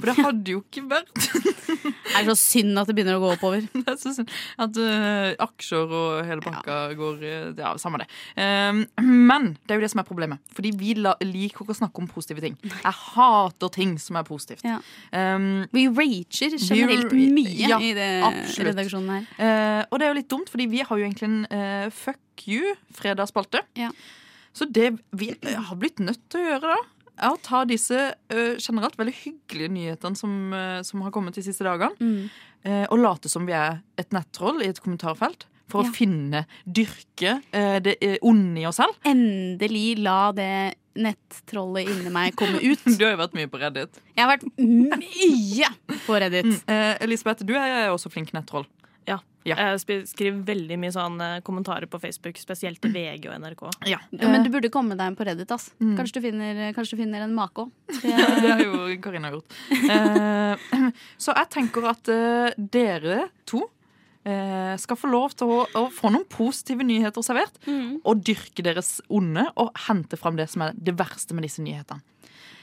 C: For
E: [LAUGHS]
C: det hadde jo ikke vært
E: Det er så synd at det begynner å gå oppover.
C: [LAUGHS] Det er så synd at øh, aksjer og hele pakka går øh, Ja, samme det. Ehm, men det er jo det som er problemet. Fordi vi la, liker ikke å snakke om positive ting. Jeg hater ting som er positivt.
E: Ja.
C: Ehm,
E: Vi rager generelt mye
C: Ja,
E: i det
C: absolutt.
E: redaksjonen her.
C: Eh, og det er jo litt dumt, fordi vi har jo egentlig en eh, fuck you fredagsspalte.
E: Ja.
C: Så det vi eh, har blitt nødt til å gjøre da, er å ta disse eh, generelt veldig hyggelige nyhetene som, eh, som har kommet de siste dagene,
E: Mm.
C: eh, og late som vi er et nettroll i et kommentarfelt. For
E: Ja.
C: å finne, dyrke eh, det eh, onde i oss selv.
E: Endelig la det nettrollet inni meg komme [LAUGHS] ut.
C: [LAUGHS] Du har jo vært mye på Reddit.
E: Jeg har vært mye på Reddit.
C: Eh, Elisabeth, du er jo også flink [LAUGHS] nettroll.
F: Ja.
C: Ja.
F: Jeg sp- skriver veldig mye sånn eh, kommentarer på Facebook, spesielt til VG og NRK.
C: Ja.
E: Ja, men du burde komme deg inn på Reddit. Ass. Kanskje, du finner, kanskje du finner en make òg.
C: Eh, Det har jo Karina gjort. Eh, [CLEARS THROAT] så jeg tenker at eh, dere to eh, skal få lov til å, å få noen positive nyheter servert. Og dyrke deres onde og hente fram det som er det verste med disse nyhetene.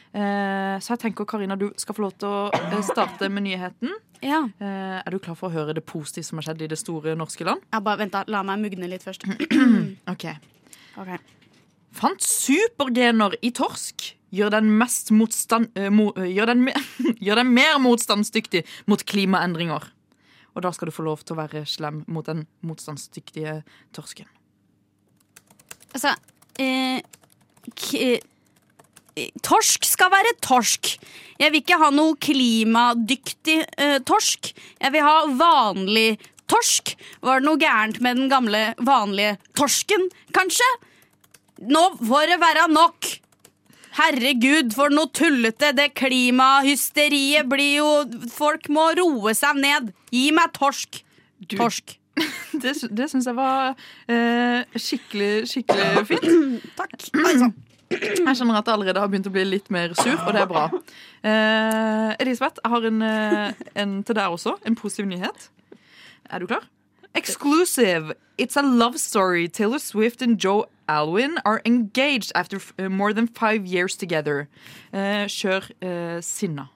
C: Eh, så jeg tenker Karina, du skal få lov til å eh, starte med nyheten.
E: Ja.
C: Eh, er du klar for å høre det positive som har skjedd i det store norske land?
E: Ja, bare vent da, La meg mugne litt først.
C: Ok
E: [CLEARS THROAT] Ok.
C: Fant supergener i torsk Gjør den, mest motstand, eh, mo, eh, gjør, den, me- [LAUGHS] gjør den mer motstandsdyktig mot klimaendringer. Og da skal du få lov til å være slem mot den motstandsdyktige torsken.
E: Altså eh, k eh, Torsk skal være torsk. Jeg vil ikke ha noe klimadyktig eh, torsk. Jeg vil ha vanlig torsk. Var det noe gærent med den gamle, vanlige torsken, kanskje? Nå får det være nok! Herregud, for noe tullete. Det klimahysteriet blir jo Folk må roe seg ned. Gi meg torsk. Torsk.
C: Det, sy- det syns jeg var eh, skikkelig, skikkelig fint.
E: Takk.
C: Jeg skjønner at jeg allerede har begynt å bli litt mer sur, og det er bra. Eh, Elisabeth, jeg har en, eh, en til deg også. En positiv nyhet. Er du klar? Exclusive. It's a love story. Taylor Swift and Joe Alwyn are engaged after f- uh, more than five years together. Eh, kjør eh, sinna.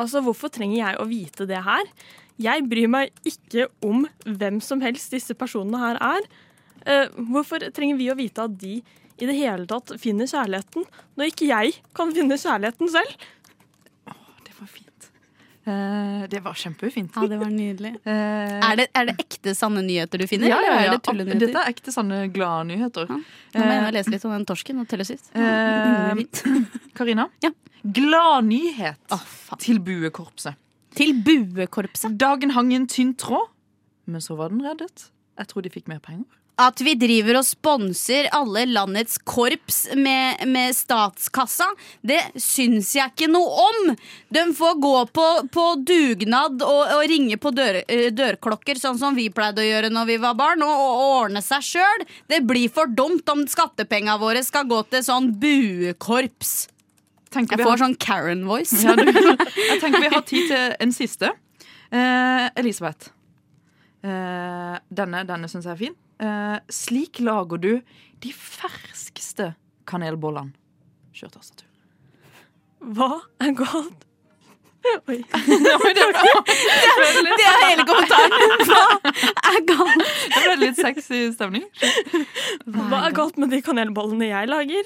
F: Altså, hvorfor trenger jeg å vite det her? Jeg bryr meg ikke om hvem som helst disse personene her er. Eh, hvorfor trenger vi å vite at de i det hele tatt finner kjærligheten, når ikke jeg kan finne kjærligheten selv?
C: Eh, det var kjempeufint.
E: Ja, det var nydelig. er, det, er det ekte sanne nyheter du finner,
C: Eh, Ja, ja,
E: eller
C: ja.
E: er det tullenyheter?
C: Dette er ekte sanne glade nyheter.
E: Nå må jeg lese litt om den torsken og telle sist.
C: Eh, [LAUGHS] Karina. Gladnyhet
E: Ah.
C: til buekorpset.
E: Til buekorpset?
C: Dagen hang i en tynn tråd, men så var den reddet. Jeg tror de fikk mer penger.
D: At vi driver og sponser alle landets korps med, med statskassa, det syns jeg ikke noe om! De får gå på, på dugnad og, og ringe på dør, eh, dørklokker, sånn som vi pleide å gjøre når vi var barn, og, og ordne seg sjøl. Det blir for dumt om skattepenga våre skal gå til sånn buekorps.
C: Tenker
D: Jeg
C: vi har- [LAUGHS]
D: får sånn Karen-voice.
C: Ja, du, jeg tenker vi har tid til en siste. Eh, Elisabeth. Eh, denne denne syns jeg er fin. Eh, slik lager du de ferskeste kanelbollene. Kjør tastatur.
D: [LAUGHS]
F: Hva er galt? [LAUGHS] Oi.
D: Det er hele [LAUGHS] kommentaren. Hva er galt?
C: Det ble litt sexy stemning.
F: Hva er galt med de kanelbollene jeg lager?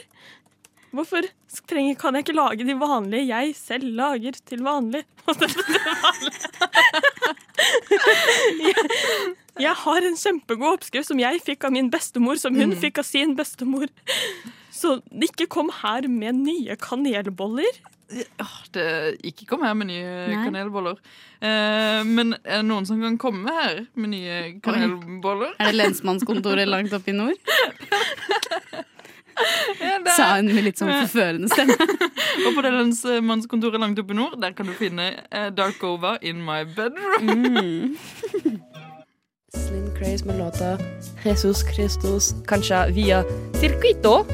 F: Hvorfor trenger, kan jeg ikke lage de vanlige jeg selv lager til vanlig? [LAUGHS] jeg, jeg har en kjempegod oppskrift som jeg fikk av min bestemor, som hun
C: Mm.
F: fikk av sin bestemor. Så ikke kom her med nye kanelboller.
C: Det, ikke kom her med nye
F: Nei.
C: kanelboller. Eh, men er det noen som kan komme her med nye kanelboller?
E: Er det lensmannskontoret langt oppe i nord?
C: Ja, det er-
E: Sa hun med litt sånn forførende stemme.
C: Og på det lensmannskontoret langt oppe i nord, der kan du finne eh, Dark Over in my bedroom.
L: Slim Craze med låta Jesus Christus, kanskje via Circuito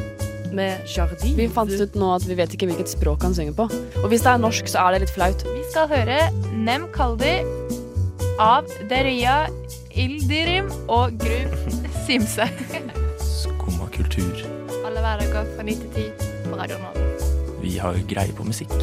L: med Jardin. Vi fant ut nå at vi vet ikke hvilket språk han synger på. Og hvis det er norsk, så er det litt flaut.
I: Vi skal høre Nem Kaldi av Deria Ildirim og Grub Simse.
M: Skumma kultur.
I: Alle hverdager fra 9 til 10 på Radio Nova.
M: Vi har greie på musikk.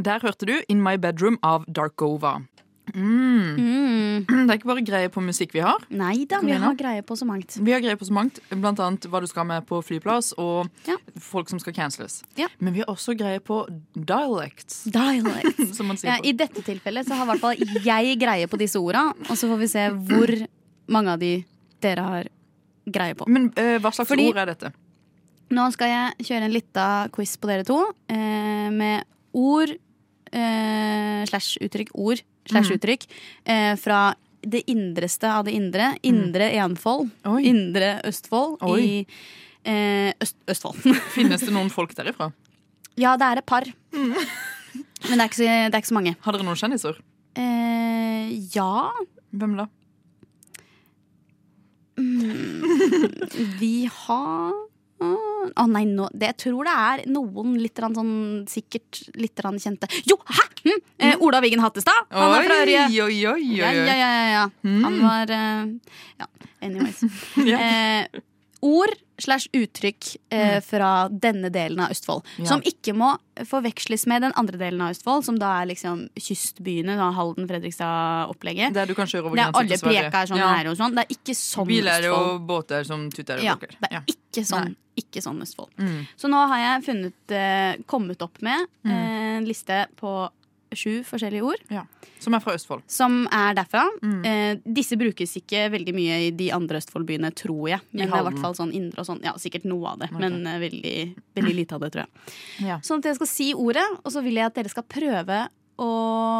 C: Der hørte du In My Bedroom av Dark Over. Mm. [CLEARS THROAT] Det er ikke bare greie på musikk vi har.
E: Nei da, vi har greie på så mangt.
C: Vi har greie på så mangt, blant annet hva du skal med på flyplass, og
E: Ja.
C: folk som skal canceles.
E: Ja.
C: Men vi har også greie på dialects.
E: Dialects.
C: som man sier
E: Ja,
C: på.
E: I dette tilfellet så har i hvert fall jeg greie på disse orda, og så får vi se hvor mange av de dere har greie på.
C: Men eh, hva slags
E: Fordi
C: ord er dette?
E: Nå skal jeg kjøre en lita quiz på dere to eh, med ord eh, slash uttrykk, ord slash
D: Mhm.
E: uttrykk eh, fra det indreste av det indre. Indre Enfold. Indre Østfold
C: Oi.
E: i eh, Øst Østfold. [LAUGHS]
C: Finnes det noen folk derifra?
E: ja, det er et par.
C: Mm.
E: Men det er, ikke så, det er ikke så mange.
C: Har dere noen kjendiser?
E: Eh, ja.
C: Hvem da?
E: Mm, vi har Å nei, nå, det, jeg tror det er noen litt grann sånn sikkert litt grann kjente. Jo, hæ! Mm. Eh, Ola Wiggen Hattestad. Han er fra Ørje.
C: Oi, oi, oi, oi.
E: Ja, ja, ja, ja. Han var eh, Ja, anyways. eh, ord slash uttrykk eh, fra denne delen av Østfold.
D: Ja.
E: Som ikke må forveksles med den andre delen av Østfold, som da er liksom kystbyene. Da, Halden, Fredrikstad-opplegget.
C: Der du kan kjøre over
E: Der
C: grensen
E: alle
C: til Sverige.
E: preker sånn
C: Ja.
E: her og sånn. Det er ikke sånn
C: Biler
E: Østfold.
C: og båter som tuter og
E: Ja,
C: bukker.
E: det er ikke sånn, ikke sånn Østfold.
C: Mm.
E: Så nå har jeg funnet, eh, kommet opp med
C: Mm.
E: eh, en liste på sju forskjellige ord.
C: Som er fra Østfold. Mm.
E: Som er derfra. Eh, disse brukes ikke veldig mye i de andre Østfoldbyene, tror jeg. Men det er i
D: Halden.
E: hvert fall sånn indre og sånn. Ja, sikkert noe av det,
D: Ok.
E: men eh, veldig, veldig lite av det, tror jeg.
C: Ja.
E: Sånn at jeg skal si ordet, og så vil jeg at dere skal prøve å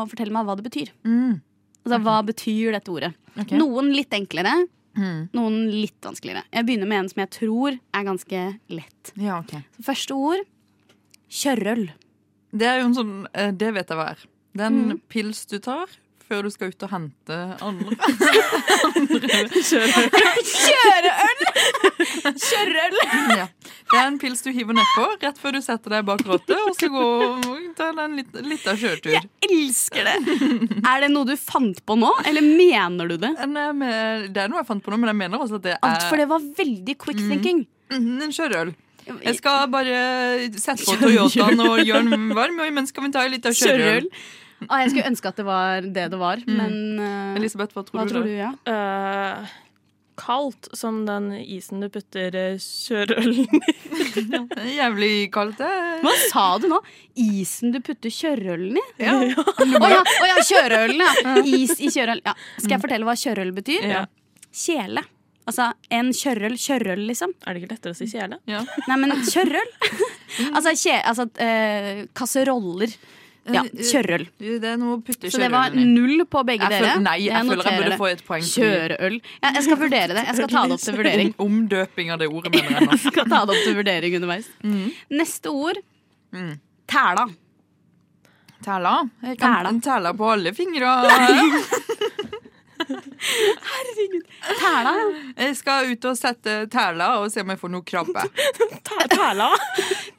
E: fortelle meg hva det betyr.
C: Mm.
E: Altså, Hva betyr dette ordet?
C: Ok.
E: Noen litt enklere,
C: Mm.
E: noen litt vanskeligere. Jeg begynner med en som jeg tror er ganske lett.
C: Ja, ok.
E: Så første ord kjørrøll.
C: Det er jo en sånn eh, Det vet jeg hva er. Det er
E: Mm.
C: en pils du tar før du skal ut og hente
E: [LAUGHS]
C: andre. andre. Kjøreøl!
E: Kjøreøl!
C: Mm, Ja. Det er en en pils du hiver nedpå rett før du setter deg bak rattet, og så gå og ta deg en lit- liten kjøretur.
E: Jeg elsker det! Er det noe du fant på nå, eller mener du det?
C: Nei, men, eh, det er noe jeg fant på nå, men jeg mener også at det er
E: Alt for det var veldig quick thinking.
C: Mm, en sjørøl. Jeg skal bare sette
E: [LAUGHS]
C: på Toyotaen og gjøre den varm, og imens skal vi ta en liten
E: Sjørøl.
C: sjørøl.
E: Ah, jeg skulle ønske at det var det det var,
C: Mm.
E: men eh,
C: Elisabeth, hva tror
E: hva
C: du?
E: tror
C: da?
E: du ja?
F: Eh, kaldt som den isen du putter eh, sjørølen i. [LAUGHS]
C: Jævlig kaldt, det.
E: Hva sa du nå? Isen du putter
C: [LAUGHS]
E: kjørølen i?
C: Ja. Mm.
E: Å [LAUGHS] ja, å ja, kjørølen,
C: [LAUGHS]
E: ja. Is i kjørøl. Ja. Skal jeg fortelle hva kjørøl betyr?
F: Ja.
E: Kjele. Altså en kjørøl, kjørøl, liksom.
F: Er det ikke lettere å si kjele?
E: Nei,
C: [LAUGHS]
E: men kjørøl. altså kje, altså eh, kasseroller.
C: Eh,
E: Ja, kjørøl.
C: Det er noe å putte
E: Så det
C: [LAUGHS]
E: var
C: kjørølen i.
E: null på begge
C: Jeg
E: dere.
C: føler- nei, jeg føler jeg
E: noterer
C: burde
E: det.
C: få et poeng for mye.
E: Kjørøl. Ja, jeg skal vurdere det. Jeg skal ta det opp til [LAUGHS] vurdering.
C: Om, omdøping av det ordet, mener jeg nå.
E: [LAUGHS] Jeg skal ta det opp til vurdering underveis. Neste ord Mm. tæla.
C: [LAUGHS] Tæla? Jeg kan tæla. på alle fingre.
E: [LAUGHS] Tæla?
C: Jeg skal ut og sette tæla og se om jeg får noe krabbe.
E: Tæla?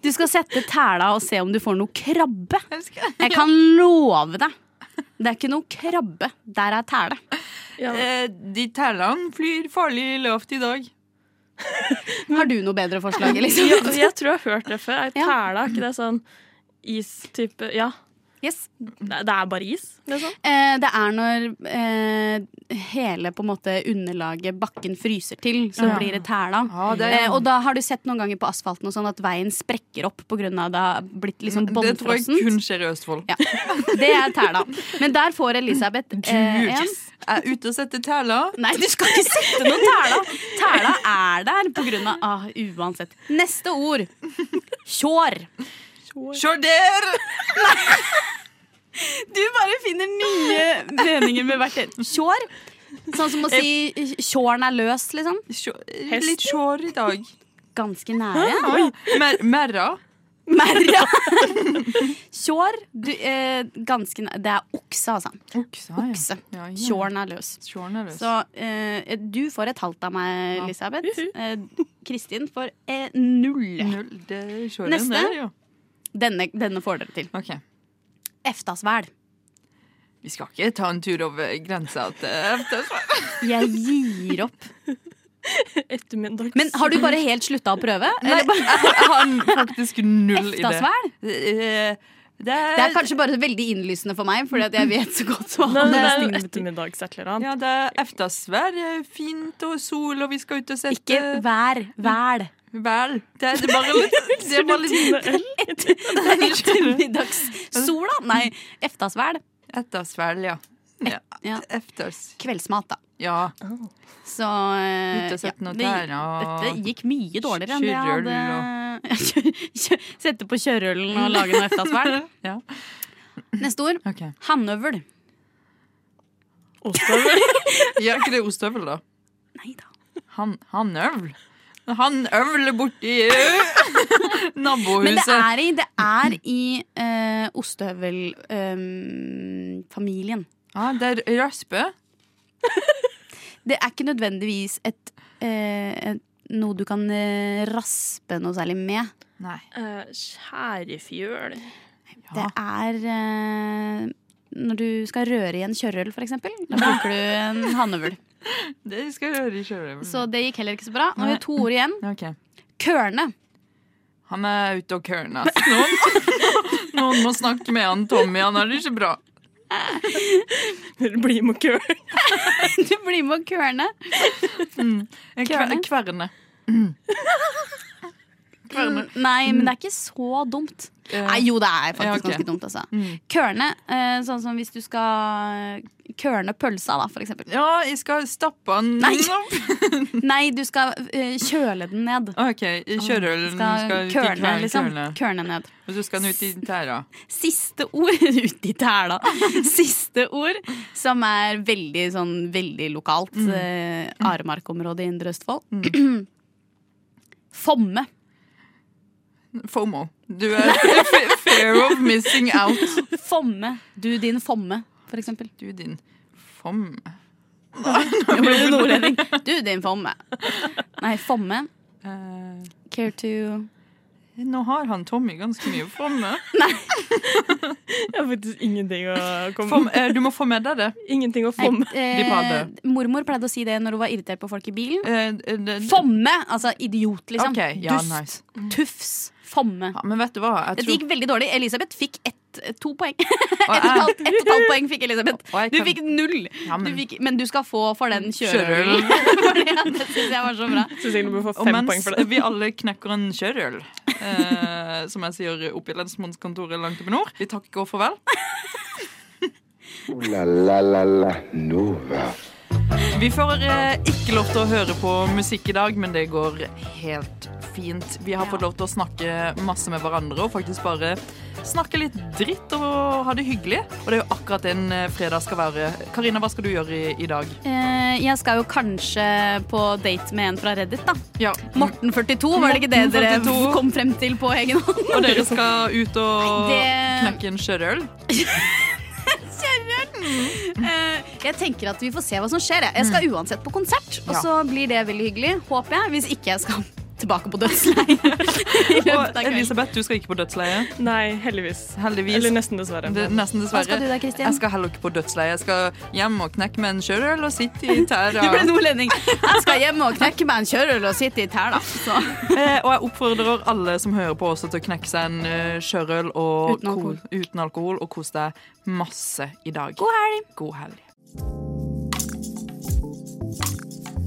E: Du skal sette tæla og se om du får noe krabbe. Jeg kan love deg. Det er ikke noe krabbe. Der er tæle.
C: Eh, De tælene flyr farlig lavt i dag.
E: Har du noe bedre forslag? [LAUGHS]
F: Ja,
E: Elisabeth?
F: jeg tror jeg har hørt det før. Er Tæla, er ikke det sånn istype Ja. Nei, Det er bare is, liksom?
E: Eh, det er når eh, hele på en måte underlaget, bakken, fryser til, så
F: Ja.
E: blir det tæla.
C: det er-
E: eh, og da har du sett noen ganger på asfalten og sånn at veien sprekker opp pga. at det har blitt liksom
C: Det tror jeg
E: bånnfrossent.
C: kun skjer i Østfold.
E: Det er tæla. Men der får Elisabeth eh, en.
C: Gorgeous. Jeg er ute og setter tæla.
E: Nei, du skal ikke sette noen tæla. Tæla er der på grunn av ah, Uansett. Neste ord. Tjår.
C: Sjorder!
E: Du bare finner nye meninger med hvert et. Tjår. Sånn som å si tjåren er løs, liksom.
C: Litt sjår i dag.
E: Ganske nære.
C: Mer, merra.
E: Merra. Tjår. du, Eh, ganske nære. Det er okse, altså.
C: Okse.
E: okse. Tjåren er løs.
C: Tjåren er løs.
E: Så eh, du får et halvt av meg,
C: Ja.
E: Elisabeth. Eh, Kristin får eh, null.
C: Null. Det er sjåren
E: Neste.
C: der, ja.
E: Denne, denne får dere til.
C: Ok.
E: Eftasvæl.
C: Vi skal ikke ta en tur over grensa til
E: Jeg gir opp.
F: [LAUGHS] Ettermiddags.
E: Men har du bare helt slutta å prøve?
C: Nei,
E: Eller bare-
C: jeg har faktisk null idé.
E: Eftasvæl?
C: Eh, Det er,
E: Det er kanskje bare veldig innlysende for meg, fordi at jeg vet så godt hva
F: Nei, det er jo
E: stignende betyr.
F: ettermiddags et eller annet.
C: Ja, det er eftasvær, eh, fint og sol, og vi skal ut og sette
E: Ikke vær,
C: [LAUGHS]
E: væl.
C: Vel. Det er det er bare litt
E: [LAUGHS]
C: Det er bare litt
F: [LAUGHS]
E: Ettermiddagssola? Nei, eftasvæl.
C: Eftasvæl, ja. ja.
E: Ja.
C: Efters.
E: Kveldsmat, da.
C: Ja.
E: Så eh,
C: Ut og sette noe
E: det-
C: der, og-
E: Dette gikk mye dårligere enn det jeg
C: Kjørøl
E: hadde [LAUGHS] Kjø- Sette på kjørølen og lage noe eftasvæl.
C: [LAUGHS] Ja.
E: [LAUGHS] Neste ord.
C: Ok.
E: Hannøvel.
F: Ostehøvel.
C: Gjør ikke det ostehøvel, da?
E: Nei da.
C: Han, han øvl. Han øvler [LAUGHS] borti eh,
E: Men det
C: nabohuset.
E: er i, det er i eh, ostehøvelfamilien.
C: Ja, Ah, det er raspe.
E: Det er ikke nødvendigvis et, eh, et noe du kan eh, raspe noe særlig med.
C: Nei.
F: Eh, Skjærefjøl.
E: Det er eh, når du skal røre i en kjørøl, for eksempel. Da bruker du en hannøvel.
C: Det skal jeg høre i sjørøveren.
E: Så det gikk heller ikke så bra. Nå har
C: Nei.
E: vi to ord igjen.
C: Ok.
E: Kørne.
C: Han er ute og kørner. ass. Noen, noen må snakke med han Tommy, han har det ikke bra.
F: Bli med og køl.
E: [LAUGHS] Du blir med å kørne.
C: Jeg kver,
E: Kverner.
C: kverne. Kverner.
E: Mm, Nei, men det er ikke så dumt.
C: Eh,
E: Nei, jo, det er
C: Mm.
E: faktisk
C: ja, ok.
E: ganske dumt, altså.
C: Mm.
E: Kørne, eh, sånn som hvis du skal eh, kørne pølsa, da, for eksempel.
C: Ja, jeg skal stappe han [LAUGHS]
E: Nei.
C: opp.
E: [LAUGHS] Nei, du skal eh, kjøle den ned.
C: OK, kjørølen
E: Skal,
C: skal ut i
E: kørne,
C: kvern-
E: liksom.
C: kørne.
E: Kørne ned.
C: Og så skal han ut i tæra.
E: Siste ord [LAUGHS] ut i tæla. Siste ord som er veldig sånn veldig lokalt.
C: Mm.
E: Eh, Aremarkområdet i Indre Østfold. [CLEARS THROAT] Fomme.
C: FOMO. Du er [LAUGHS] f- fair of missing out.
E: Fomme. Du din fomme, for eksempel.
C: Du, din fom...
E: Jeg ble [LAUGHS] nordlending. Du din fomme. Nei, fomme.
C: Eh,
E: Care to
C: Nå har han Tommy ganske mye for [LAUGHS] meg.
F: Jeg har faktisk ingenting å komme
C: For- eh, du må få med deg det.
F: Ingenting å få med.
C: De på alle.
E: eh, mormor pleide å si det når hun var irritert på folk i bilen.
C: Eh, det-
E: Fomme! Altså idiot, liksom.
C: Ok, ja,
E: Dust.
C: nice.
E: Tufs. Fomme.
C: Men vet du hva? Jeg
E: Dette
C: tror
E: gikk veldig dårlig. Elisabeth fikk ett, eh, to poeng. Ett
C: og
E: og et
C: jeg-
E: halvt- ett og et halvt poeng fikk Elisabeth.
C: jeg
E: Du
C: kan-
E: fikk null.
C: Ja, men-
E: Du fikk, men du skal få for den
C: Kjørølen.
E: [LAUGHS] kjørølen. Fordi at det syns jeg var så bra.
C: Og mens vi alle knekker en kjørøl, eh, som jeg sier oppe i lensmannskontoret langt oppe i nord, vi takker og farvel.
B: Ooh la la la la Nova.
C: Vi får eh, ikke lov til å høre på musikk i dag, men det går helt fint. Vi har fått lov til å snakke masse med hverandre og faktisk bare snakke litt dritt og ha det hyggelig. Og det er jo akkurat det en eh, fredag skal være. Karina, hva skal du gjøre i, i dag?
E: Eh, jeg skal jo kanskje på date med en fra Reddit, da.
C: Ja.
E: Morten 42, var det ikke det
C: Morten
E: dere
C: 42.
E: kom frem til på egen hånd?
C: Og dere skal ut og
E: Nei,
C: knekke en sjørøl?
E: Eh, jeg tenker at vi får se hva som skjer. Jeg, jeg skal uansett på konsert, og
C: Mm. Ja.
E: så blir det veldig hyggelig, håper jeg. Hvis ikke jeg skal [LAUGHS] tilbake på dødsleiet.
C: Og Elisabeth, du skal ikke på dødsleie.
F: Nei, heldigvis.
C: Heldigvis.
F: Eller nesten dessverre.
C: Det, nesten dessverre.
E: Hva skal du da, Kristin?
C: Jeg skal heller ikke på dødsleie. Jeg skal hjem og knekke med en sjørøl og sitte i [LAUGHS] tæra.
E: Du ble nordlending. Jeg skal hjem og knekke meg en kjørøl og sitte i tæla. Så.
C: Eh, og jeg oppfordrer alle som hører på også til å knekke seg en eh, sjørøl og
E: Uten alkohol.
C: ko- uten alkohol og kose deg masse i dag.
E: God helg.
C: God helg.